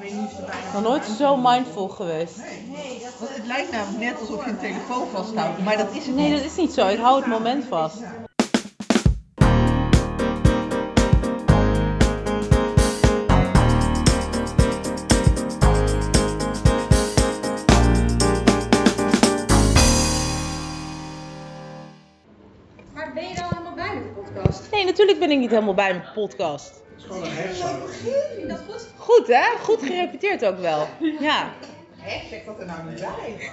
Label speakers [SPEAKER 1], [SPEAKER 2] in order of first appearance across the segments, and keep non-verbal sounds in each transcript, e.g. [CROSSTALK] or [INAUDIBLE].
[SPEAKER 1] alleen nu is er bijna...
[SPEAKER 2] Nog nooit zo mindful geweest.
[SPEAKER 1] Nee, dat...
[SPEAKER 3] Want het lijkt namelijk net alsof je een telefoon vasthoudt, maar dat is het
[SPEAKER 2] Nee,
[SPEAKER 3] niet.
[SPEAKER 2] dat is niet zo. Ik hou het moment vast.
[SPEAKER 4] Maar ben je dan helemaal bij met de podcast?
[SPEAKER 2] Nee, natuurlijk ben ik niet helemaal bij mijn podcast.
[SPEAKER 5] Het is gewoon een hefzaak.
[SPEAKER 4] Vind je dat goed?
[SPEAKER 2] Goed hè? Goed gerepeteerd ook wel. Ja.
[SPEAKER 3] Echt, zeg dat er nou niet bij.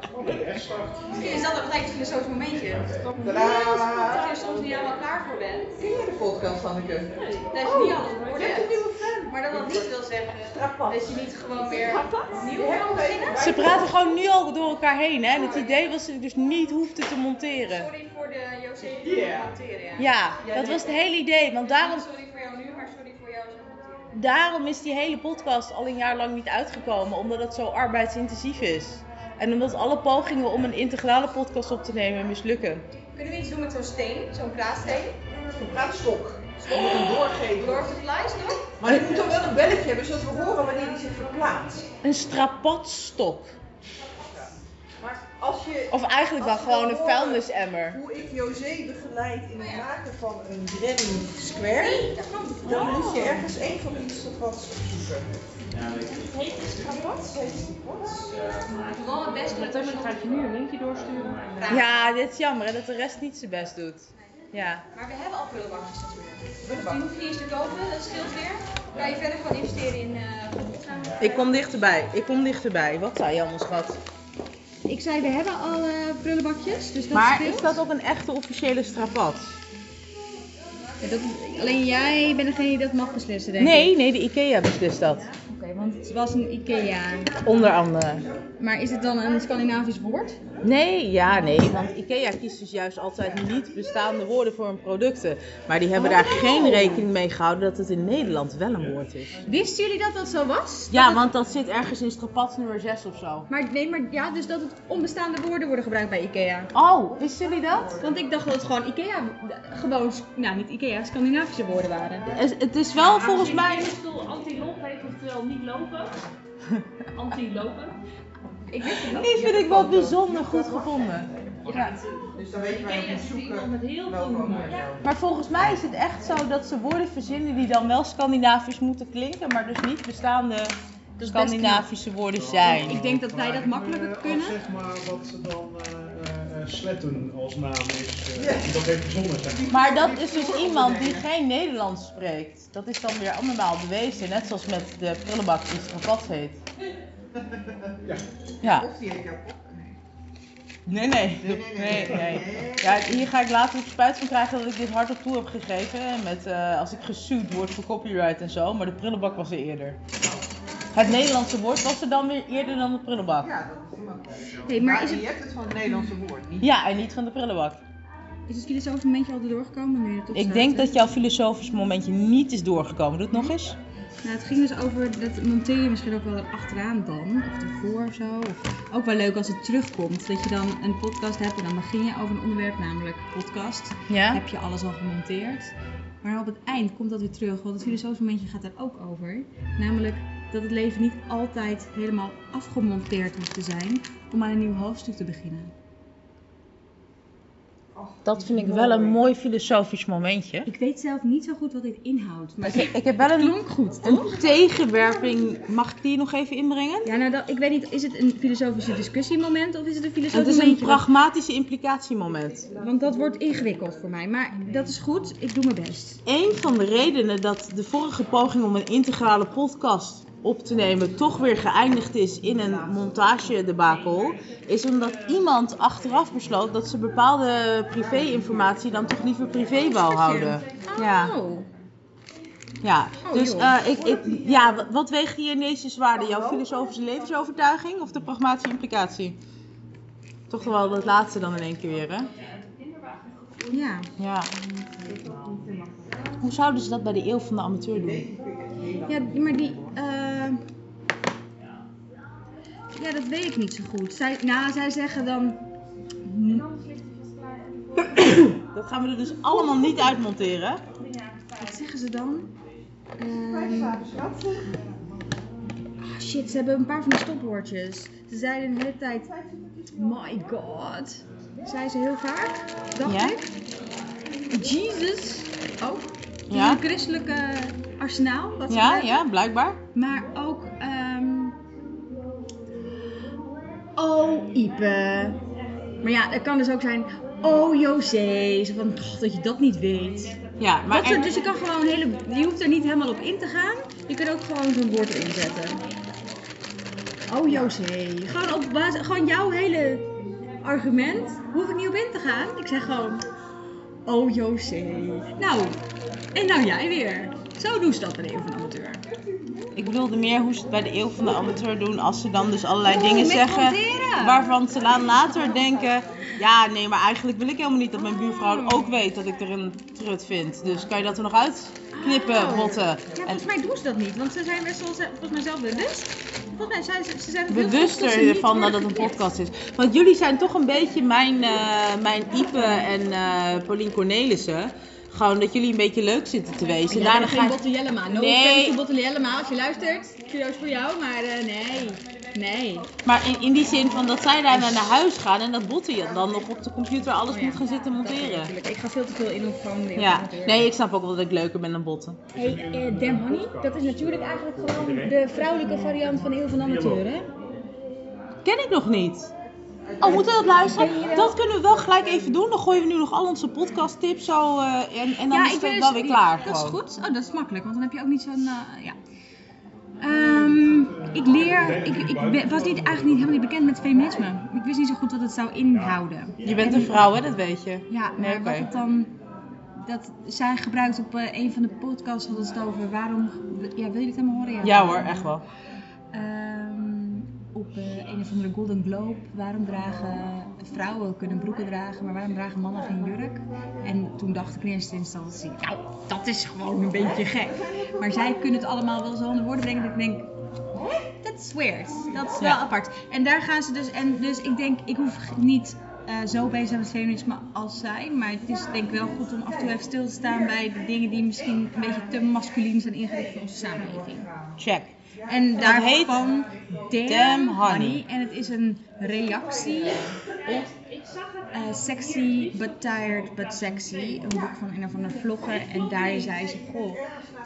[SPEAKER 5] Gewoon een hefzaak.
[SPEAKER 4] Misschien is dat een gelijk een filosofisch momentje. Dat je
[SPEAKER 3] Tadaa!
[SPEAKER 4] er soms niet helemaal klaar voor bent.
[SPEAKER 3] Ken je de podcast, Hanneke?
[SPEAKER 4] Dat je niet alles
[SPEAKER 1] Oh,
[SPEAKER 4] op orde hebt. Maar dat dat niet wil zeggen dat je niet gewoon weer opnieuw kan beginnen.
[SPEAKER 2] Ze praten gewoon nu al door elkaar heen hè. En het idee was dat ik dus niet hoefde te monteren.
[SPEAKER 4] Sorry voor de José
[SPEAKER 3] Ja.
[SPEAKER 4] monteren.
[SPEAKER 2] Ja, dat was het hele idee. Want daarom,
[SPEAKER 4] Niet Sorry voor jou nu, maar sorry voor jou als je monteren.
[SPEAKER 2] daarom is die hele podcast al een jaar lang niet uitgekomen. Omdat het zo arbeidsintensief is. En omdat alle pogingen om een integrale podcast op te nemen mislukken.
[SPEAKER 4] Kunnen we iets doen met zo'n steen, zo'n praatsteen?
[SPEAKER 3] Een praatstok. Ze moet hem doorgeven.
[SPEAKER 4] Lord of the Flies nog?
[SPEAKER 3] Maar die moet toch wel een belletje hebben, zodat we horen wanneer die zich verplaatst.
[SPEAKER 2] Een strapatstok.
[SPEAKER 3] Maar als je...
[SPEAKER 2] Of eigenlijk wel
[SPEAKER 3] Als je wil
[SPEAKER 2] gewoon een
[SPEAKER 3] horen
[SPEAKER 2] vuilnisemmer.
[SPEAKER 3] Hoe ik José begeleid in het maken van een redding square,
[SPEAKER 4] Dat klopt.
[SPEAKER 3] dan moet je ergens een van die strapatstok zoeken.
[SPEAKER 4] Heet het strapats? Gewoon het beste.
[SPEAKER 1] Meteen ga ik je nu een linkje doorsturen.
[SPEAKER 2] Ja, dit is jammer hè, dat de rest niet zijn best doet. Ja.
[SPEAKER 4] Maar we hebben al prullenbakjes natuurlijk. Die hoef je niet eens te kopen, dat scheelt weer. Kan je verder gewoon investeren in eh goed
[SPEAKER 2] Ik kom dichterbij, ik kom dichterbij. Wat zei je allemaal schat?
[SPEAKER 4] Ik zei, we hebben al eh, prullenbakjes, dus
[SPEAKER 2] Maar is dat ook een echte officiële strapat?
[SPEAKER 4] alleen jij bent degene die dat mag beslissen, denk
[SPEAKER 2] Nee, nee, de IKEA beslist dat.
[SPEAKER 4] Oké, want het was een IKEA.
[SPEAKER 2] Onder andere.
[SPEAKER 4] Maar is het dan een Scandinavisch woord?
[SPEAKER 2] Nee, ja, nee. Want IKEA kiest dus juist altijd niet bestaande woorden voor hun producten. Maar die hebben daar geen rekening mee gehouden dat het in Nederland wel een woord is.
[SPEAKER 4] Wisten jullie dat dat zo was?
[SPEAKER 2] Ja, want dat zit ergens in strapat nummer 6 of zo.
[SPEAKER 4] Maar nee, maar ja, dus dat het onbestaande woorden worden gebruikt bij IKEA.
[SPEAKER 2] Oh, wisten jullie dat?
[SPEAKER 4] Want ik dacht dat het gewoon IKEA, gewoon, nou niet IKEA, Scandinavische woorden waren.
[SPEAKER 2] Het- Het is wel volgens mij...
[SPEAKER 1] Anti-lop heet, oftewel niet
[SPEAKER 2] [LAUGHS]
[SPEAKER 1] lopen. Anti-lopen.
[SPEAKER 4] Ik wist het
[SPEAKER 2] Die vind ik wel bijzonder goed gevonden.
[SPEAKER 3] Dus dan weet je waar je moet zoeken.
[SPEAKER 1] met heel veel
[SPEAKER 3] Welkom
[SPEAKER 1] humor.
[SPEAKER 3] bij jou.
[SPEAKER 2] Maar volgens mij is het echt zo dat ze woorden verzinnen die dan wel Scandinavisch moeten klinken, maar dus niet bestaande
[SPEAKER 4] best
[SPEAKER 2] Scandinavische woorden zijn.
[SPEAKER 4] Ik denk dat wij dat makkelijker kunnen.
[SPEAKER 5] Als zeg maar wat ze dan eh, eh, sletten als naam is. eh, die Dat heeft verzonnen zeg maar.
[SPEAKER 2] Maar dat is dus iemand die geen Nederlands spreekt. Dat is dan weer allemaal bewezen, net zoals met de prullenbak die strapat heet.
[SPEAKER 5] Ja.
[SPEAKER 2] Ja.
[SPEAKER 3] Of die heb ik ook.
[SPEAKER 2] Nee, nee.
[SPEAKER 3] Nee, nee, nee.
[SPEAKER 2] Ja, hier ga ik later op spuit van krijgen dat ik dit hardop toe heb gegeven. Met, eh, als ik gesued word voor copyright en zo. Maar de prullenbak was er eerder. Het Nederlandse woord was er dan weer eerder dan de prullenbak.
[SPEAKER 3] Ja, dat is ook wel.
[SPEAKER 4] Hey, maar
[SPEAKER 3] maar
[SPEAKER 4] is
[SPEAKER 3] je
[SPEAKER 4] het-
[SPEAKER 3] hebt het van het Nederlandse woord, niet?
[SPEAKER 2] Ja, en niet van de prullenbak.
[SPEAKER 4] Is het filosofisch momentje al erdoor gekomen nu? je erop
[SPEAKER 2] Ik
[SPEAKER 4] staat,
[SPEAKER 2] denk
[SPEAKER 4] hè?
[SPEAKER 2] dat jouw filosofisch momentje niet is doorgekomen. Doe het nog eens.
[SPEAKER 4] Nou, het ging dus over dat monteer je misschien ook wel erachteraan dan, of ervoor of zo. Of ook wel leuk als het terugkomt, dat je dan een podcast hebt en dan begin je over een onderwerp, namelijk podcast.
[SPEAKER 2] Ja?
[SPEAKER 4] Heb je alles al gemonteerd? Maar op het eind komt dat weer terug, want het filosofisch momentje gaat daar ook over. Namelijk dat het leven niet altijd helemaal afgemonteerd hoeft te zijn om aan een nieuw hoofdstuk te beginnen.
[SPEAKER 2] Dat vind ik wel een mooi filosofisch momentje.
[SPEAKER 4] Ik weet zelf niet zo goed wat dit inhoudt, maar het
[SPEAKER 2] Ik heb wel een,
[SPEAKER 4] klonk goed, toch?
[SPEAKER 2] een tegenwerping. Mag ik die nog even inbrengen?
[SPEAKER 4] Ja, nou, dat, ik weet niet, is het een filosofische discussiemoment of is het een
[SPEAKER 2] Het
[SPEAKER 4] filosofisch
[SPEAKER 2] is een
[SPEAKER 4] momentje?
[SPEAKER 2] pragmatische implicatiemoment.
[SPEAKER 4] Want dat wordt ingewikkeld voor mij. Maar dat is goed, ik doe mijn best.
[SPEAKER 2] Een van de redenen dat de vorige poging om een integrale podcast op te nemen toch weer geëindigd is in een montagedebakel, is omdat iemand achteraf besloot dat ze bepaalde privéinformatie dan toch liever privé wou houden. Ja,
[SPEAKER 4] Oh,
[SPEAKER 2] ja.
[SPEAKER 4] Oh,
[SPEAKER 2] dus
[SPEAKER 4] joh.
[SPEAKER 2] eh, ik, ik, ja, wat- wat weegt hier ineens zwaarder? Jouw filosofische levensovertuiging of de pragmatische implicatie? Toch wel dat laatste dan in één keer weer, hè?
[SPEAKER 4] ja.
[SPEAKER 2] Ja. Hoe zouden ze dat bij de eeuw van de amateur doen?
[SPEAKER 4] Ja, maar die... eh, Ja, dat weet ik niet zo goed. Zij, nou, zij zeggen dan...
[SPEAKER 2] Dat gaan we er dus allemaal niet uitmonteren.
[SPEAKER 4] Wat zeggen ze dan? Ehm, shit, ze hebben een paar van die stopwoordjes. Ze zeiden de hele tijd, my god. Zei ze heel vaak, dacht
[SPEAKER 2] Ja?
[SPEAKER 4] ik. Jesus. Ook. Dus
[SPEAKER 2] Ja.
[SPEAKER 4] een christelijke arsenaal. Wat ze
[SPEAKER 2] Ja,
[SPEAKER 4] hebben.
[SPEAKER 2] ja, blijkbaar.
[SPEAKER 4] Maar ook, ehm oh Ipe. Maar ja, het kan dus ook zijn, oh José. Zo van, "Oh, dat je dat niet weet.
[SPEAKER 2] Ja, maar
[SPEAKER 4] Dat soort,
[SPEAKER 2] er-
[SPEAKER 4] dus je kan gewoon een hele, je hoeft er niet helemaal op in te gaan. Je kan ook gewoon zo'n woord erin zetten. Oh José. Gewoon op basis, gewoon jouw hele argument hoef ik niet op in te gaan. Ik zeg gewoon, oh José. Nou, en nou jij weer. Zo doe ze dat in een van amateur.
[SPEAKER 2] ik bedoelde meer hoe ze het bij de eeuw van de amateur doen als ze dan dus allerlei
[SPEAKER 4] Oh,
[SPEAKER 2] dingen
[SPEAKER 4] met
[SPEAKER 2] zeggen.
[SPEAKER 4] hanteren.
[SPEAKER 2] Waarvan ze dan later denken, ja nee, maar eigenlijk wil ik helemaal niet dat mijn buurvrouw ook weet dat ik er een trut vind. Dus kan je dat er nog uitknippen,
[SPEAKER 4] Oh.
[SPEAKER 2] rotten?
[SPEAKER 4] Ja,
[SPEAKER 2] En
[SPEAKER 4] volgens mij doen ze dat niet, want ze zijn best wel ze- volgens mij zelf bewust. Volgens mij zijn ze, ze zijn er heel goed
[SPEAKER 2] bewuster
[SPEAKER 4] ze niet
[SPEAKER 2] ervan dat het
[SPEAKER 4] worden
[SPEAKER 2] een
[SPEAKER 4] geknipt.
[SPEAKER 2] podcast is. Want jullie zijn toch een beetje mijn, eh mijn Ipe en eh Paulien Cornelissen. Gewoon dat jullie een beetje leuk zitten te wezen.
[SPEAKER 4] Ja,
[SPEAKER 2] Daarna
[SPEAKER 4] daarna
[SPEAKER 2] ga
[SPEAKER 4] geen
[SPEAKER 2] je-
[SPEAKER 4] Botte Jellema. No
[SPEAKER 2] Nee.
[SPEAKER 4] offense to Botte Jellema, als je luistert. Kudos voor jou, maar eh, nee. Nee.
[SPEAKER 2] Maar in, in die zin van dat zij daarna naar huis gaan en dat Botte je dan nog op de computer alles
[SPEAKER 4] Oh ja,
[SPEAKER 2] moet gaan zitten
[SPEAKER 4] Dat weet ik
[SPEAKER 2] monteren.
[SPEAKER 4] natuurlijk. Ik ga veel te veel in op gewoon de
[SPEAKER 2] Ja,
[SPEAKER 4] amateur.
[SPEAKER 2] nee, ik snap ook wel dat ik leuker ben dan Botte.
[SPEAKER 4] Hey, eh, Dem Honey, dat is natuurlijk eigenlijk gewoon de vrouwelijke variant van Heel van Amateur, hè?
[SPEAKER 2] Ken ik nog niet. Oh, moeten we dat luisteren? Dat kunnen we wel gelijk even doen. Dan gooien we nu nog al onze podcast tips zo eh, en, en dan is het
[SPEAKER 4] ben
[SPEAKER 2] wel
[SPEAKER 4] dus-
[SPEAKER 2] weer klaar.
[SPEAKER 4] Dat
[SPEAKER 2] gewoon.
[SPEAKER 4] is goed. Oh, dat is makkelijk, want dan heb je ook niet zo'n. eh, ja. Ehm, ik leer. Ik, ik ben- was niet, eigenlijk niet helemaal niet bekend met feminisme. Ik wist niet zo goed wat het zou inhouden.
[SPEAKER 2] Je bent een vrouw, hè? Dat weet je.
[SPEAKER 4] Ja, maar
[SPEAKER 2] Nee, oké.
[SPEAKER 4] wat het dan. Dat zij gebruikt op eh, een van de podcasts hadden ze het over waarom. Ja, wil je het helemaal horen?
[SPEAKER 2] Ja hoor, echt wel.
[SPEAKER 4] Ehm, op eh, een of andere Golden Globe. Waarom dragen vrouwen kunnen broeken dragen, maar waarom dragen mannen geen jurk? En toen dacht ik in eerste instantie, nou, dat is gewoon een beetje gek. Maar zij kunnen het allemaal wel zo onder woorden brengen dat ik denk, dat is weird. Dat is wel
[SPEAKER 2] Ja.
[SPEAKER 4] apart. En daar gaan ze dus, en dus ik denk, ik hoef g- niet eh, zo bezig met feminisme als zij, maar het is denk ik wel goed om af en toe even stil te staan bij de dingen die misschien een beetje te masculin zijn ingericht in onze samenleving.
[SPEAKER 2] Check.
[SPEAKER 4] En
[SPEAKER 2] heet
[SPEAKER 4] daarvan Damn,
[SPEAKER 2] Damn
[SPEAKER 4] honey.
[SPEAKER 2] Honey.
[SPEAKER 4] En het is een reactie op eh, Sexy But Tired But Sexy. Een boek van een of andere vlogger. En daar zei ze, goh,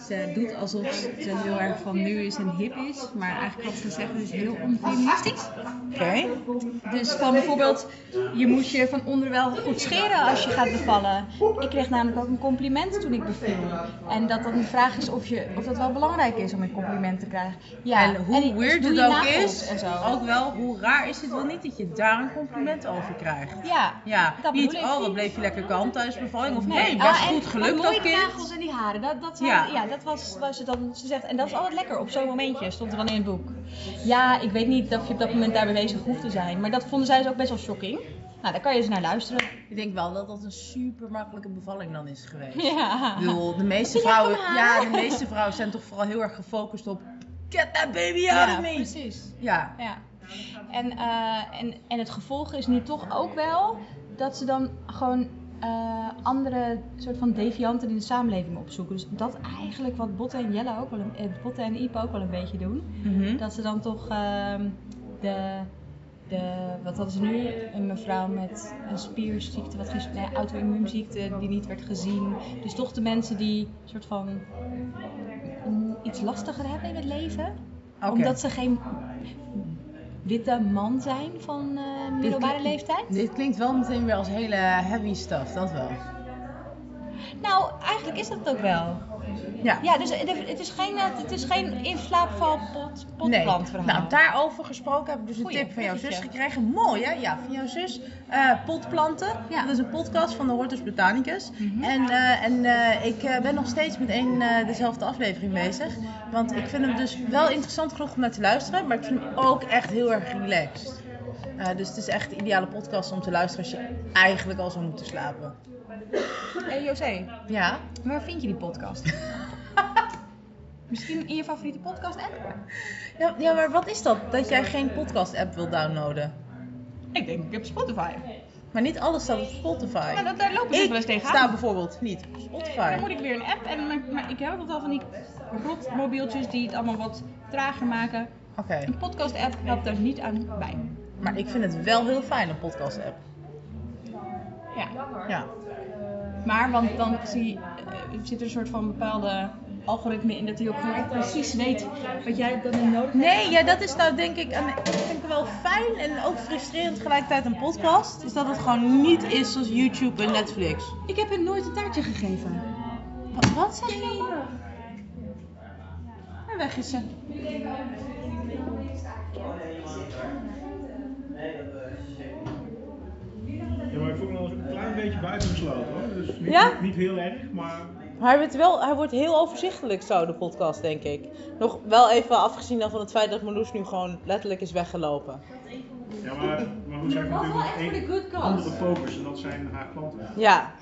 [SPEAKER 4] ze doet alsof ze heel erg van nu is en hip is. Maar eigenlijk had ze gezegd, het is heel onfeministisch.
[SPEAKER 2] Oké.
[SPEAKER 4] Dus van bijvoorbeeld, je moet je van onder wel goed scheren als je gaat bevallen. Ik kreeg namelijk ook een compliment toen ik beviel. En dat dan de vraag is of, je, of dat wel belangrijk is om een compliment te krijgen. Ja,
[SPEAKER 2] En hoe
[SPEAKER 4] die-
[SPEAKER 2] weird
[SPEAKER 4] doe
[SPEAKER 2] het
[SPEAKER 4] je
[SPEAKER 2] ook
[SPEAKER 4] nagels
[SPEAKER 2] is,
[SPEAKER 4] En zo.
[SPEAKER 2] ook wel hoe raar is het wel niet dat je daar een compliment over krijgt.
[SPEAKER 4] ja,
[SPEAKER 2] Ja,
[SPEAKER 4] Dat
[SPEAKER 2] niet,
[SPEAKER 4] bedoel ik.
[SPEAKER 2] oh wat bleef je lekker kalm tijdens bevalling, of
[SPEAKER 4] Nee.
[SPEAKER 2] nee, best
[SPEAKER 4] Ah, en
[SPEAKER 2] goed gelukt
[SPEAKER 4] wat
[SPEAKER 2] dat
[SPEAKER 4] mooie nagels
[SPEAKER 2] kind.
[SPEAKER 4] en die haren, dat, dat, zou-
[SPEAKER 2] Ja.
[SPEAKER 4] ja. dat was waar ze dan ze zegt. En dat is altijd lekker op zo'n momentje, stond er dan in het boek. Ja, ik weet niet of je op dat moment daar bezig hoeft te zijn. Maar dat vonden zij dus ook best wel shocking. Nou, daar kan je eens naar luisteren. [LAUGHS]
[SPEAKER 2] Ik denk wel dat dat een super makkelijke bevalling dan is geweest.
[SPEAKER 4] Ja.
[SPEAKER 2] Ik bedoel, de meeste
[SPEAKER 4] Wat vind jij
[SPEAKER 2] vrouwen,
[SPEAKER 4] van haar?
[SPEAKER 2] ja, de meeste vrouwen zijn toch vooral heel erg gefocust op get that baby out
[SPEAKER 4] Ja,
[SPEAKER 2] of me.
[SPEAKER 4] precies.
[SPEAKER 2] Ja,
[SPEAKER 4] Ja. En, eh, en, en het gevolg is nu toch ook wel dat ze dan gewoon eh, andere soort van devianten in de samenleving opzoeken. Dus dat eigenlijk wat Botte en Jelle ook wel, een, eh, Botte en Ipe ook wel een beetje doen.
[SPEAKER 2] Mhm.
[SPEAKER 4] Dat ze dan toch ehm, de, de, wat hadden ze nu? Een mevrouw met een spierziekte, wat geen nee, auto-immuunziekte die niet werd gezien. Dus toch de mensen die soort van mm, iets lastiger hebben in het leven
[SPEAKER 2] Oké.
[SPEAKER 4] omdat ze geen witte man zijn van eh, middelbare
[SPEAKER 2] Dit-
[SPEAKER 4] leeftijd?
[SPEAKER 2] Dit klinkt wel meteen weer als hele heavy stuff, dat wel.
[SPEAKER 4] Nou, eigenlijk is dat het ook wel.
[SPEAKER 2] Ja.
[SPEAKER 4] Ja, dus het, het is geen, eh, het is geen in slaapval pot, potplantverhaal.
[SPEAKER 2] Nou, daarover gesproken heb ik dus een
[SPEAKER 4] Goeie,
[SPEAKER 2] tip van jouw zus
[SPEAKER 4] bruggetje.
[SPEAKER 2] gekregen. Mooi, hè? Ja, van jouw zus. Eh, potplanten.
[SPEAKER 4] Ja.
[SPEAKER 2] Dat is een podcast van de Hortus Botanicus.
[SPEAKER 4] Mhm.
[SPEAKER 2] En, eh, en eh, ik eh, ben nog steeds met één eh, dezelfde aflevering bezig. Want ik vind hem dus wel interessant genoeg om naar te luisteren. Maar ik vind hem ook echt heel erg relaxed. Eh, dus het is echt de ideale podcast om te luisteren als je eigenlijk al zou moeten slapen.
[SPEAKER 4] Hey, José,
[SPEAKER 2] Ja.
[SPEAKER 4] waar vind je die [LAUGHS] podcast? Misschien in je favoriete podcast app?
[SPEAKER 2] Ja, ja, maar wat is dat? Dat jij geen podcast-app wilt downloaden?
[SPEAKER 4] Ik denk, ik heb Spotify.
[SPEAKER 2] Maar niet alles staat op Spotify.
[SPEAKER 4] Nou, dat, daar lopen ze
[SPEAKER 2] Ik
[SPEAKER 4] wel eens tegenaan.
[SPEAKER 2] sta bijvoorbeeld niet op Spotify.
[SPEAKER 4] Dan moet ik weer een app en maar, maar ik heb ook wel van die rotmobieltjes die het allemaal wat trager maken.
[SPEAKER 2] Oké.
[SPEAKER 4] Een podcast-app helpt daar niet aan bij.
[SPEAKER 2] Maar ik vind het wel heel fijn, een podcast-app.
[SPEAKER 4] Ja.
[SPEAKER 2] Ja.
[SPEAKER 4] Maar want dan zie, eh, zit er een soort van bepaalde algoritme in dat hij ook gewoon precies weet wat jij dan in nodig hebt.
[SPEAKER 2] Nee, ja, dat is nou denk ik, een, ik vind het wel fijn en ook frustrerend tegelijkertijd een podcast. Is dat het gewoon niet is zoals YouTube en Netflix.
[SPEAKER 4] Ik heb hem nooit een taartje gegeven.
[SPEAKER 2] Wat, wat zeg je? En weg is ze.
[SPEAKER 5] Ja, maar ik voel me wel eens een klein beetje buitengesloten hoor. Dus niet,
[SPEAKER 2] Ja?
[SPEAKER 5] niet heel erg, maar
[SPEAKER 2] Maar hij, werd wel, hij wordt heel overzichtelijk zo, de podcast, denk ik. Nog wel even afgezien dan van het feit dat Marloes nu gewoon letterlijk is weggelopen.
[SPEAKER 5] Ja, maar, maar hoe zijn natuurlijk nog één
[SPEAKER 4] good
[SPEAKER 5] andere focus en dat zijn haar klanten.
[SPEAKER 2] Ja,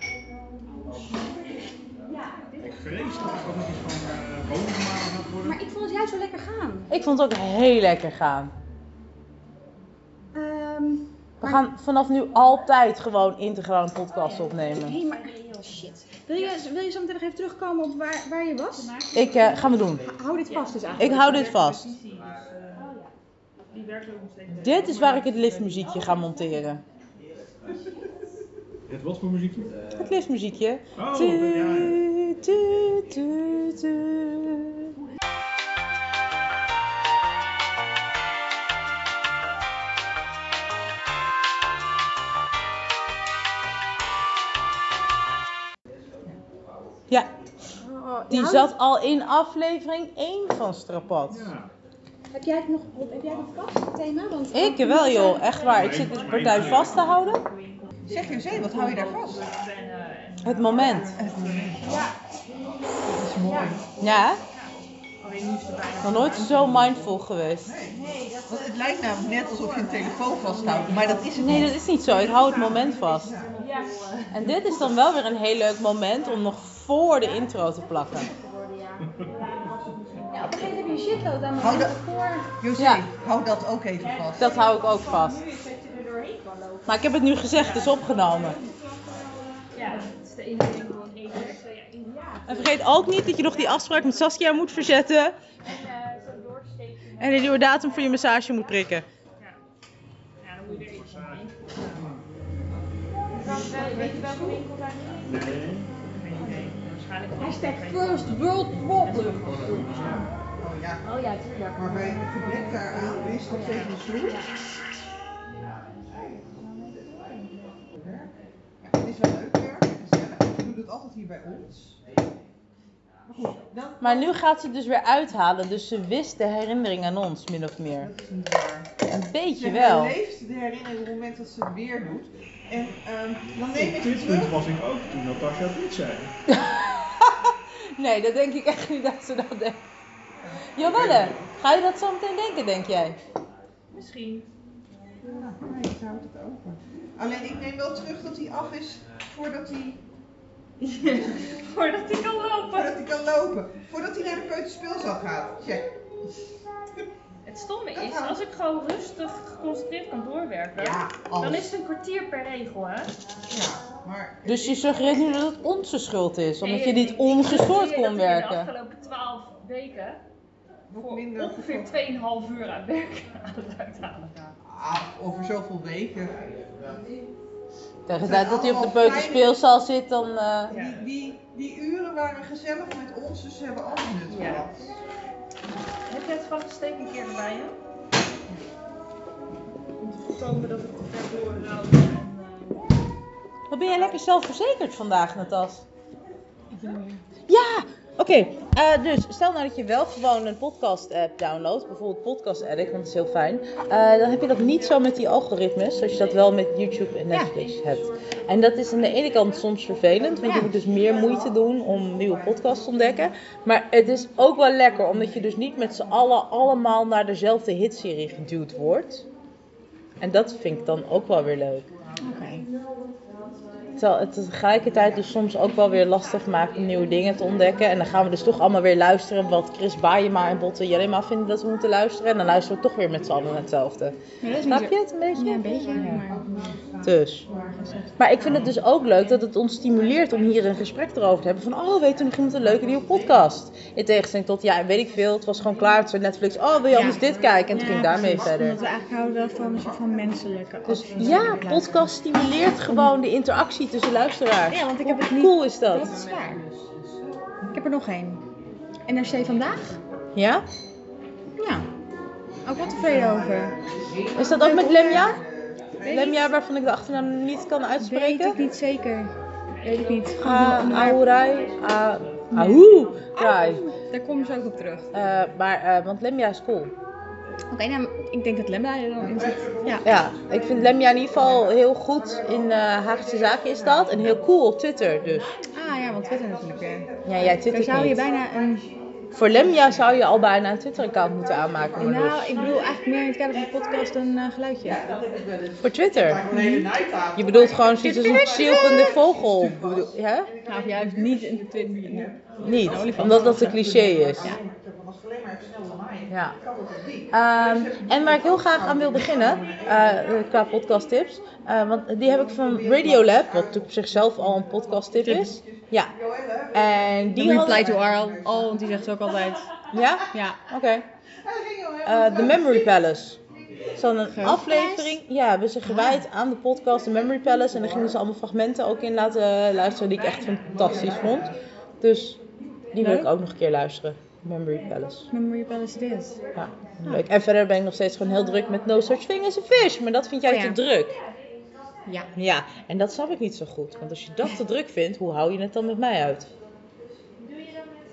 [SPEAKER 5] Ik vrees dat ik ook nog iets van eh bonusmatig gaat worden.
[SPEAKER 4] Maar ik vond het juist wel lekker gaan.
[SPEAKER 2] ik vond het ook heel lekker gaan.
[SPEAKER 4] Ehm
[SPEAKER 2] We gaan vanaf nu altijd gewoon integraal een podcast opnemen.
[SPEAKER 4] hey, maar oh, shit. Wil je, wil je zo meteen nog even terugkomen op waar, waar je was?
[SPEAKER 2] Ik eh, ga me doen.
[SPEAKER 4] Hou dit vast dus eigenlijk.
[SPEAKER 2] Ik hou dit vast.
[SPEAKER 1] Die, die werkt ook nog steeds.
[SPEAKER 2] Dit is waar ik het liftmuziekje ga monteren.
[SPEAKER 5] Het wat voor muziek?
[SPEAKER 2] Het liftmuziekje.
[SPEAKER 5] Oh,
[SPEAKER 2] Tu,
[SPEAKER 5] ja, ja.
[SPEAKER 2] tu, tu, tu. Ja, die zat al in aflevering 1 van Strapat.
[SPEAKER 5] Ja.
[SPEAKER 4] Heb jij het nog, heb jij het nog vast, het thema? Want
[SPEAKER 2] Ik wel joh, echt waar. Ik zit dus partij vast te houden.
[SPEAKER 3] Zeg je zee, wat hou je daar vast?
[SPEAKER 2] Het moment.
[SPEAKER 3] Dat is mooi.
[SPEAKER 2] Ja,
[SPEAKER 3] Alleen nu is het bijna.
[SPEAKER 2] nog nooit zo mindful geweest.
[SPEAKER 3] Want het lijkt namelijk net alsof je een telefoon vasthoudt, maar dat is het
[SPEAKER 2] Nee,
[SPEAKER 3] niet.
[SPEAKER 2] dat is niet zo. Ik hou het moment vast. En dit is dan wel weer een heel leuk moment om nog voor de intro te plakken.
[SPEAKER 4] Ja, op een gegeven moment heb je een shitload aan
[SPEAKER 3] Hou dat-
[SPEAKER 4] voor.
[SPEAKER 3] José,
[SPEAKER 2] Ja.
[SPEAKER 3] hou dat ook even vast.
[SPEAKER 2] Dat hou ik ook vast. Maar ik heb het nu gezegd, het is opgenomen.
[SPEAKER 1] Ja, het is de ene ding van één werk, twee jaar één jaar.
[SPEAKER 2] En vergeet ook niet dat je nog die afspraak met Saskia moet verzetten.
[SPEAKER 1] En eh, zo doorsteken.
[SPEAKER 2] En een nieuwe datum voor je massage moet prikken.
[SPEAKER 1] Ja, dan moet je er iets aan doen. Weet je welke winkel daar niet?
[SPEAKER 5] Nee.
[SPEAKER 1] Geen idee. Waarschijnlijk
[SPEAKER 4] Hashtag first world problem.
[SPEAKER 3] Oh ja,
[SPEAKER 1] Oh ja, tuurlijk.
[SPEAKER 3] maar bij het gebrek daaraan is nog steeds een vloer. Het is wel leuk werk, gezellig. We doen het altijd hier bij ons. Maar goed, dan
[SPEAKER 2] Maar nu gaat ze het dus weer uithalen, dus ze wist de herinnering aan ons, min of meer.
[SPEAKER 3] dat is niet waar.
[SPEAKER 2] Een beetje
[SPEAKER 3] Ze
[SPEAKER 2] wel.
[SPEAKER 3] leeft de herinnering op het moment dat ze het weer doet. En ehm, dan neem
[SPEAKER 5] Op
[SPEAKER 3] ik
[SPEAKER 5] dit
[SPEAKER 3] het
[SPEAKER 5] punt
[SPEAKER 3] terug.
[SPEAKER 5] was ik ook toen Natasja het niet zei.
[SPEAKER 2] Nee, dat denk ik echt niet dat ze dat denkt. Jawelle, ga je dat zo meteen denken, denk jij?
[SPEAKER 1] Misschien.
[SPEAKER 3] Ja, nee, ik houd het open. Alleen ik neem wel terug dat hij af is voordat hij,
[SPEAKER 1] Voordat ik kan lopen.
[SPEAKER 3] voordat hij kan lopen. Voordat hij naar de peuterspeelzaal gaat. Check.
[SPEAKER 1] Het stomme is, als ik gewoon rustig geconcentreerd kan doorwerken,
[SPEAKER 3] Ja, alles.
[SPEAKER 1] dan is het een kwartier per regel, hè?
[SPEAKER 3] Oh, Ja, maar
[SPEAKER 2] Dus je suggereert nu dat het onze schuld is, omdat je niet ongestoord kon
[SPEAKER 1] De
[SPEAKER 2] werken.
[SPEAKER 1] afgelopen 12 weken
[SPEAKER 3] nog
[SPEAKER 1] voor
[SPEAKER 3] minder.
[SPEAKER 1] ongeveer 2,5 uur aan werk aan het uithalen.
[SPEAKER 3] Ah, over zoveel weken.
[SPEAKER 2] Tegen de tijd dat hij op de peuterspeelzaal zit, dan... eh,
[SPEAKER 3] Die, die, die uren waren gezellig met ons, dus ze hebben alles nut
[SPEAKER 1] Ja.
[SPEAKER 3] gehad.
[SPEAKER 1] Heb je het vastgesteken een keer erbij, hè? Om te voorkomen dat het te ver doorloopt. en, eh,
[SPEAKER 2] Wat ben jij lekker zelfverzekerd vandaag, Natas? Ja! Oké, eh, dus stel nou dat je wel gewoon een podcast-app downloadt, bijvoorbeeld Podcast Addict, want dat is heel fijn. Eh, dan heb je dat niet zo met die algoritmes, zoals je dat wel met YouTube en Netflix hebt. En dat is aan de ene kant soms vervelend, want je moet dus meer moeite doen om nieuwe podcasts te ontdekken. Maar het is ook wel lekker, omdat je dus niet met z'n allen allemaal naar dezelfde hitserie geduwd wordt. En dat vind ik dan ook wel weer leuk.
[SPEAKER 4] Oké.
[SPEAKER 2] Terwijl het tegelijkertijd dus soms ook wel weer lastig maakt om nieuwe dingen te ontdekken. En dan gaan we dus toch allemaal weer luisteren wat Chris Baaienma en Botte Jellema vinden dat we moeten luisteren. En dan luisteren we toch weer met z'n allen naar hetzelfde.
[SPEAKER 4] Maar dat is niet
[SPEAKER 2] Snap je
[SPEAKER 4] zo...
[SPEAKER 2] het een beetje?
[SPEAKER 4] Ja, een beetje,
[SPEAKER 2] Ja.
[SPEAKER 4] maar...
[SPEAKER 2] Dus. Maar ik vind het dus ook leuk dat het ons stimuleert om hier een gesprek erover te hebben. Van, oh, weet je nog iemand een leuke nieuwe podcast? In tegenstelling tot, ja, weet ik veel, het was gewoon klaar. Het was Netflix, oh, wil je
[SPEAKER 4] Ja.
[SPEAKER 2] anders dit kijken? En toen
[SPEAKER 4] Ja,
[SPEAKER 2] ging ik daarmee
[SPEAKER 4] precies.
[SPEAKER 2] verder.
[SPEAKER 4] Omdat we eigenlijk houden wel van een soort van menselijke
[SPEAKER 2] Dus
[SPEAKER 4] afstand.
[SPEAKER 2] ja, podcast stimuleert gewoon de interactie tussen luisteraars.
[SPEAKER 4] Ja, want ik heb het
[SPEAKER 2] Hoe
[SPEAKER 4] niet...
[SPEAKER 2] cool is dat?
[SPEAKER 4] Dat is waar. Ik heb er nog één. NRC Vandaag?
[SPEAKER 2] Ja?
[SPEAKER 4] Ja. Ook wel tevreden over.
[SPEAKER 2] Is dat ook met Lemja? Lemja waarvan ik de achternaam niet kan
[SPEAKER 4] Weet ik
[SPEAKER 2] uitspreken?
[SPEAKER 4] niet zeker. Weet ik niet. Gewoon een
[SPEAKER 2] Ah,
[SPEAKER 4] onderwerp.
[SPEAKER 2] Ahurai. Ah, Ahu. Rai.
[SPEAKER 4] Daar komen ze ook op terug.
[SPEAKER 2] Eh, maar, eh, want Lemja is cool.
[SPEAKER 4] Oké, nou, ik denk dat Lemba er dan in zit. Ja.
[SPEAKER 2] Ja, ik vind Lemja in ieder geval heel goed in eh, Haagse Zaken is dat. En heel cool op Twitter dus.
[SPEAKER 4] Ah ja, want Twitter natuurlijk weer.
[SPEAKER 2] Ja, jij
[SPEAKER 4] Daar
[SPEAKER 2] twittert
[SPEAKER 4] zou je
[SPEAKER 2] niet.
[SPEAKER 4] bijna een...
[SPEAKER 2] Voor Lemja zou je al bijna een Twitter-account moeten aanmaken. maar
[SPEAKER 4] Nou,
[SPEAKER 2] dus.
[SPEAKER 4] ik bedoel eigenlijk meer in het kader van podcast een eh, geluidje.
[SPEAKER 2] Voor Twitter. Je bedoelt gewoon zoiets als een chilpende vogel. bedoel- hè?
[SPEAKER 4] Nou, of juist niet in de Twitter.
[SPEAKER 2] Niet, omdat dat een cliché is. Ja. Ehm, en waar ik heel graag aan wil beginnen, eh, qua podcasttips, eh, want die heb ik van Radiolab, wat natuurlijk op zichzelf al een podcasttip is. Ja. En die had-
[SPEAKER 4] reply to Arl. Oh, want die zegt ze ook altijd.
[SPEAKER 2] Ja?
[SPEAKER 4] Ja.
[SPEAKER 2] Oké. Eh, The Memory Palace. Zo'n een aflevering. Ja, hebben ze gewijd aan de podcast The Memory Palace. En daar gingen ze allemaal fragmenten ook in laten luisteren die ik echt fantastisch vond. Dus die wil ik
[SPEAKER 4] Leuk.
[SPEAKER 2] ook nog een keer luisteren. Memory Palace.
[SPEAKER 4] Memory Palace This.
[SPEAKER 2] Ja, leuk. En verder ben ik nog steeds gewoon heel druk met No Such Thing as a Fish. Maar dat vind jij
[SPEAKER 4] Oh
[SPEAKER 2] te
[SPEAKER 4] ja.
[SPEAKER 2] druk.
[SPEAKER 4] Ja.
[SPEAKER 2] Ja, en dat snap ik niet zo goed. Want als je dat te druk vindt, hoe hou je het dan met mij uit?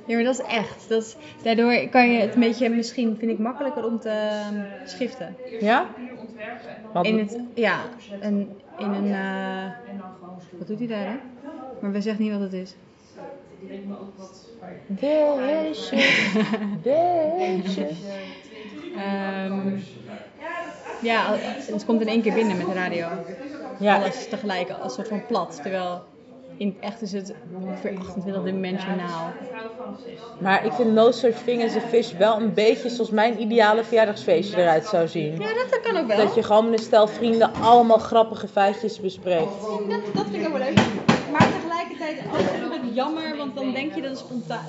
[SPEAKER 4] Ja, maar dat is echt. Dat is, daardoor kan je het een beetje misschien, vind ik, makkelijker om te ehm, schiften.
[SPEAKER 2] Ja? Want-
[SPEAKER 4] In het, ja, een, in een, eh, wat doet hij daar hè? Maar we zeggen niet wat het is.
[SPEAKER 2] Beestje, beestje.
[SPEAKER 4] Ehm, ja, al- het komt in één keer binnen met de radio.
[SPEAKER 2] Ja,
[SPEAKER 4] Alles tegelijk, als soort van plat. Terwijl in het echt is het ongeveer 28 dimensionaal.
[SPEAKER 2] maar ik vind No Such Thing as a Fish wel een beetje zoals mijn ideale verjaardagsfeestje eruit zou zien.
[SPEAKER 4] Ja, dat kan ook wel.
[SPEAKER 2] Dat je gewoon met een stel vrienden allemaal grappige feitjes bespreekt.
[SPEAKER 4] Dat, dat vind ik ook wel leuk. Maar tegelijkertijd ook een beetje jammer, want dan denk je dat het spontaan...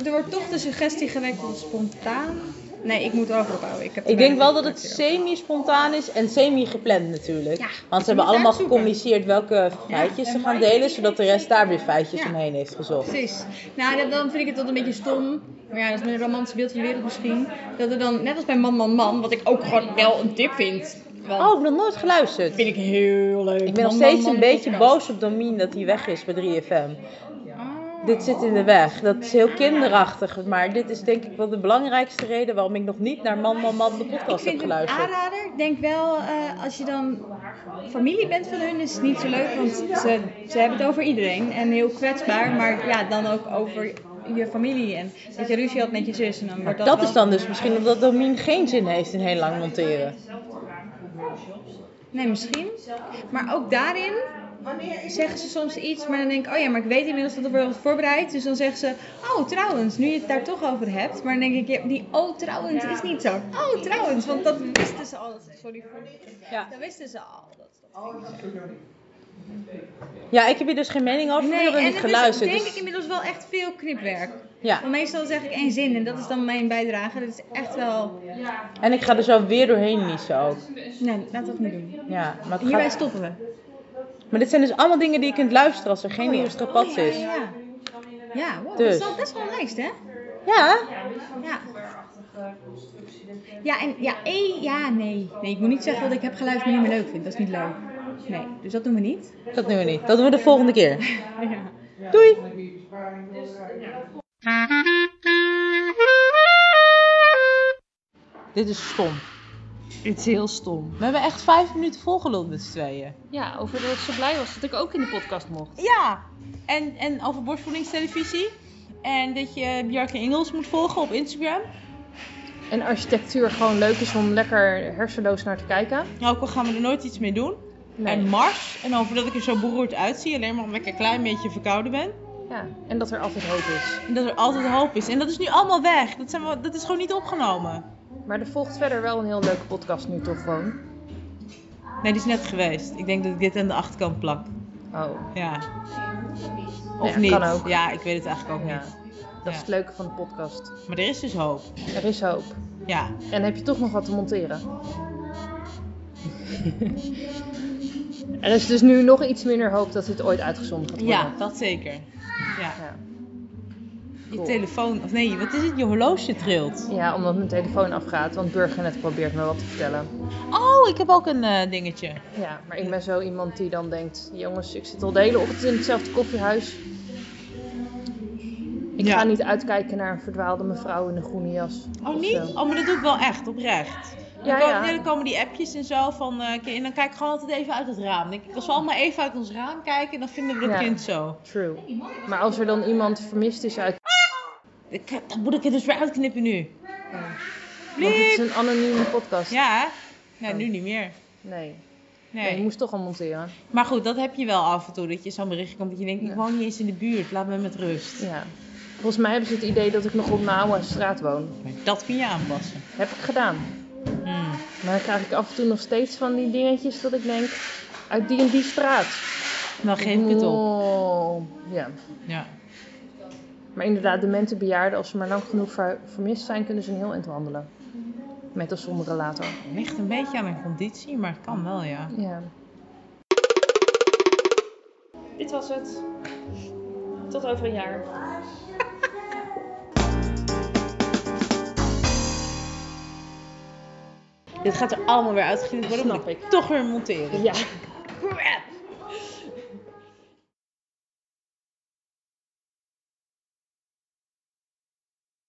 [SPEAKER 4] Er- Er wordt toch de suggestie gewekt dat het spontaan... Nee, ik moet erover ophouden. Ik, heb te
[SPEAKER 2] Ik denk
[SPEAKER 4] weinig
[SPEAKER 2] wel dat het
[SPEAKER 4] informatie
[SPEAKER 2] semi-spontaan is en semi-gepland natuurlijk.
[SPEAKER 4] Ja,
[SPEAKER 2] Want ze
[SPEAKER 4] je moet
[SPEAKER 2] hebben allemaal
[SPEAKER 4] uitzoeken.
[SPEAKER 2] gecommuniceerd welke feitjes ze gaan delen, zodat de rest daar weer feitjes
[SPEAKER 4] Ja.
[SPEAKER 2] omheen heeft gezocht.
[SPEAKER 4] Precies. Nou, dat- dan vind ik het tot een beetje stom. Maar ja, dat is mijn romantisch beeld van de wereld misschien. Dat er dan, net als bij Man Man Man, wat ik ook gewoon wel een tip vind. Want
[SPEAKER 2] Oh, ik heb nog nooit geluisterd.
[SPEAKER 4] vind ik heel leuk.
[SPEAKER 2] Ik ben nog
[SPEAKER 4] Man, Man,
[SPEAKER 2] steeds
[SPEAKER 4] Man
[SPEAKER 2] een beetje
[SPEAKER 4] podcast.
[SPEAKER 2] boos op Domien dat hij weg is bij 3FM.
[SPEAKER 4] Ah.
[SPEAKER 2] Dit zit in de weg. Dat is heel kinderachtig. Maar dit is denk ik wel de belangrijkste reden waarom ik nog niet naar Man Man Man de
[SPEAKER 4] Ik
[SPEAKER 2] podcast heb
[SPEAKER 4] vind het een
[SPEAKER 2] geluisterd.
[SPEAKER 4] aanrader. Ik denk wel, eh, als je dan familie bent van hun, is het niet zo leuk. Want ze, ze hebben het over iedereen. En heel kwetsbaar. Maar ja, dan ook over je familie. En dat je ruzie had met je zus. En dan wordt dat
[SPEAKER 2] Dat
[SPEAKER 4] wel-
[SPEAKER 2] is dan dus misschien omdat Domien geen zin heeft in heel lang monteren.
[SPEAKER 4] Nee, misschien. Maar ook daarin zeggen ze soms iets, maar dan denk ik, oh ja, maar ik weet inmiddels dat er wordt voorbereid. Dus dan zeggen ze, oh trouwens, nu je het daar toch over hebt. Maar dan denk ik, ja, die oh trouwens is niet zo. Oh trouwens, want dat wisten ze al. Sorry voor
[SPEAKER 2] Ja.
[SPEAKER 4] Dat wisten ze al. Dat- dat-
[SPEAKER 2] Ja, ik heb hier dus geen mening over. ik heb er
[SPEAKER 4] en
[SPEAKER 2] niet
[SPEAKER 4] het
[SPEAKER 2] geluisterd.
[SPEAKER 4] is denk
[SPEAKER 2] dus-
[SPEAKER 4] ik inmiddels wel echt veel knipwerk.
[SPEAKER 2] ja.
[SPEAKER 4] Want meestal zeg ik één zin en dat is dan mijn bijdrage. Dat is echt wel...
[SPEAKER 2] En ik ga er zo weer doorheen niezen ook.
[SPEAKER 4] Nee, laat dat niet doen.
[SPEAKER 2] Ja, maar, ik ga-
[SPEAKER 4] Hierbij stoppen we.
[SPEAKER 2] maar dit zijn dus allemaal dingen die je kunt luisteren als er
[SPEAKER 1] Oh.
[SPEAKER 2] geen extra pad
[SPEAKER 4] ja,
[SPEAKER 2] is.
[SPEAKER 4] ja, ja. Ja, wow,
[SPEAKER 2] Dus.
[SPEAKER 4] dat is wel best wel een lijst, hè?
[SPEAKER 2] Ja,
[SPEAKER 4] Ja. Ja, en ja, eh, ja, nee. Nee, ik moet niet zeggen dat ik heb geluisterd maar niet meer leuk vind. Dat is niet leuk. Nee, dus dat doen we niet.
[SPEAKER 2] dat doen we niet. Dat doen we de volgende
[SPEAKER 1] [LAUGHS]
[SPEAKER 2] keer.
[SPEAKER 4] Ja.
[SPEAKER 2] Doei! Dit is stom.
[SPEAKER 1] Het is heel stom.
[SPEAKER 2] We hebben echt vijf minuten volgeluld met z'n tweeën.
[SPEAKER 1] Ja, over dat ik zo blij was dat ik ook in de podcast mocht.
[SPEAKER 2] Ja, en, en over borstvoedingstelevisie. En dat je Bjarke Ingels moet volgen op Instagram.
[SPEAKER 1] En architectuur gewoon leuk is om lekker hersenloos naar te kijken.
[SPEAKER 2] Nou, ook al gaan we er nooit iets mee doen.
[SPEAKER 1] Nee.
[SPEAKER 2] en mars. En over dat ik er zo beroerd uitzie, alleen maar omdat ik een klein beetje verkouden ben.
[SPEAKER 1] Ja, en dat er altijd hoop is.
[SPEAKER 2] En dat er altijd hoop is. En dat is nu allemaal weg. Dat, zijn we, dat is gewoon niet opgenomen.
[SPEAKER 1] Maar er volgt verder wel een heel leuke podcast nu toch gewoon.
[SPEAKER 2] Nee, die is net geweest. Ik denk dat ik dit aan de achterkant plak.
[SPEAKER 1] Oh,
[SPEAKER 2] Ja. Of
[SPEAKER 1] Ja,
[SPEAKER 2] niet.
[SPEAKER 1] kan ook.
[SPEAKER 2] Ja, ik weet het eigenlijk ook
[SPEAKER 1] ja.
[SPEAKER 2] niet.
[SPEAKER 1] Dat is het leuke van de podcast.
[SPEAKER 2] Maar er is dus hoop.
[SPEAKER 1] Er is hoop.
[SPEAKER 2] Ja.
[SPEAKER 1] En heb je toch nog wat te [LAUGHS] monteren. er is dus nu nog iets minder hoop dat dit ooit uitgezonden gaat worden.
[SPEAKER 2] Ja, dat zeker. Ja.
[SPEAKER 1] Ja.
[SPEAKER 2] Je
[SPEAKER 1] Cool.
[SPEAKER 2] telefoon, of nee, wat is het? Je horloge trilt.
[SPEAKER 1] Ja, omdat mijn telefoon afgaat, want Burgernet probeert me wat te vertellen.
[SPEAKER 2] Oh, ik heb ook een eh, dingetje.
[SPEAKER 1] Ja, maar ik ben zo iemand die dan denkt: jongens, ik zit al de hele ochtend in hetzelfde koffiehuis. Ik
[SPEAKER 2] Ja.
[SPEAKER 1] ga niet uitkijken naar een verdwaalde mevrouw in een groene jas.
[SPEAKER 2] Oh,
[SPEAKER 1] of
[SPEAKER 2] niet?
[SPEAKER 1] zo.
[SPEAKER 2] Oh, maar dat doe ik wel echt, oprecht. Dan,
[SPEAKER 1] Ja,
[SPEAKER 2] komen,
[SPEAKER 1] ja.
[SPEAKER 2] nee, dan komen die appjes en zo van. eh, oké, en dan kijk ik gewoon altijd even uit het raam. Denk ik, als we allemaal even uit ons raam kijken, dan vinden we dat
[SPEAKER 1] Ja.
[SPEAKER 2] kind zo.
[SPEAKER 1] True. Maar als er dan iemand vermist is uit.
[SPEAKER 2] Ik, dan moet ik het dus weer uitknippen nu.
[SPEAKER 1] Oh. Want het is
[SPEAKER 2] Bliep!
[SPEAKER 1] een anonieme podcast.
[SPEAKER 2] Ja, hè? nee,
[SPEAKER 1] Oh.
[SPEAKER 2] nu niet meer.
[SPEAKER 1] Nee. nee. Je
[SPEAKER 2] Nee.
[SPEAKER 1] moest toch al monteren.
[SPEAKER 2] Maar goed, dat heb je wel af en toe. Dat je zo'n bericht komt dat je denkt, ik
[SPEAKER 1] Ja.
[SPEAKER 2] woon niet eens in de buurt. Laat me met rust.
[SPEAKER 1] Ja. Volgens mij hebben ze het idee dat ik nog op mijn oude straat woon.
[SPEAKER 2] Maar dat kun je aanpassen.
[SPEAKER 1] Heb ik gedaan.
[SPEAKER 2] Hmm.
[SPEAKER 1] Maar dan krijg ik af en toe nog steeds van die dingetjes dat ik denk: uit die en die straat.
[SPEAKER 2] Dan geef ik het op.
[SPEAKER 1] Oh, ja.
[SPEAKER 2] Ja.
[SPEAKER 1] Maar inderdaad, demente bejaarden, als ze maar lang genoeg ver- vermist zijn, kunnen ze een heel eind wandelen. Met of zonder relator.
[SPEAKER 2] Ligt een beetje aan mijn conditie, maar het kan wel, ja.
[SPEAKER 1] Ja. Dit was het. Tot over een jaar.
[SPEAKER 2] Dit gaat er allemaal weer uitgeknipt worden,
[SPEAKER 1] Snap
[SPEAKER 2] omdat ik
[SPEAKER 1] ik.
[SPEAKER 2] toch weer monteren.
[SPEAKER 1] Ja.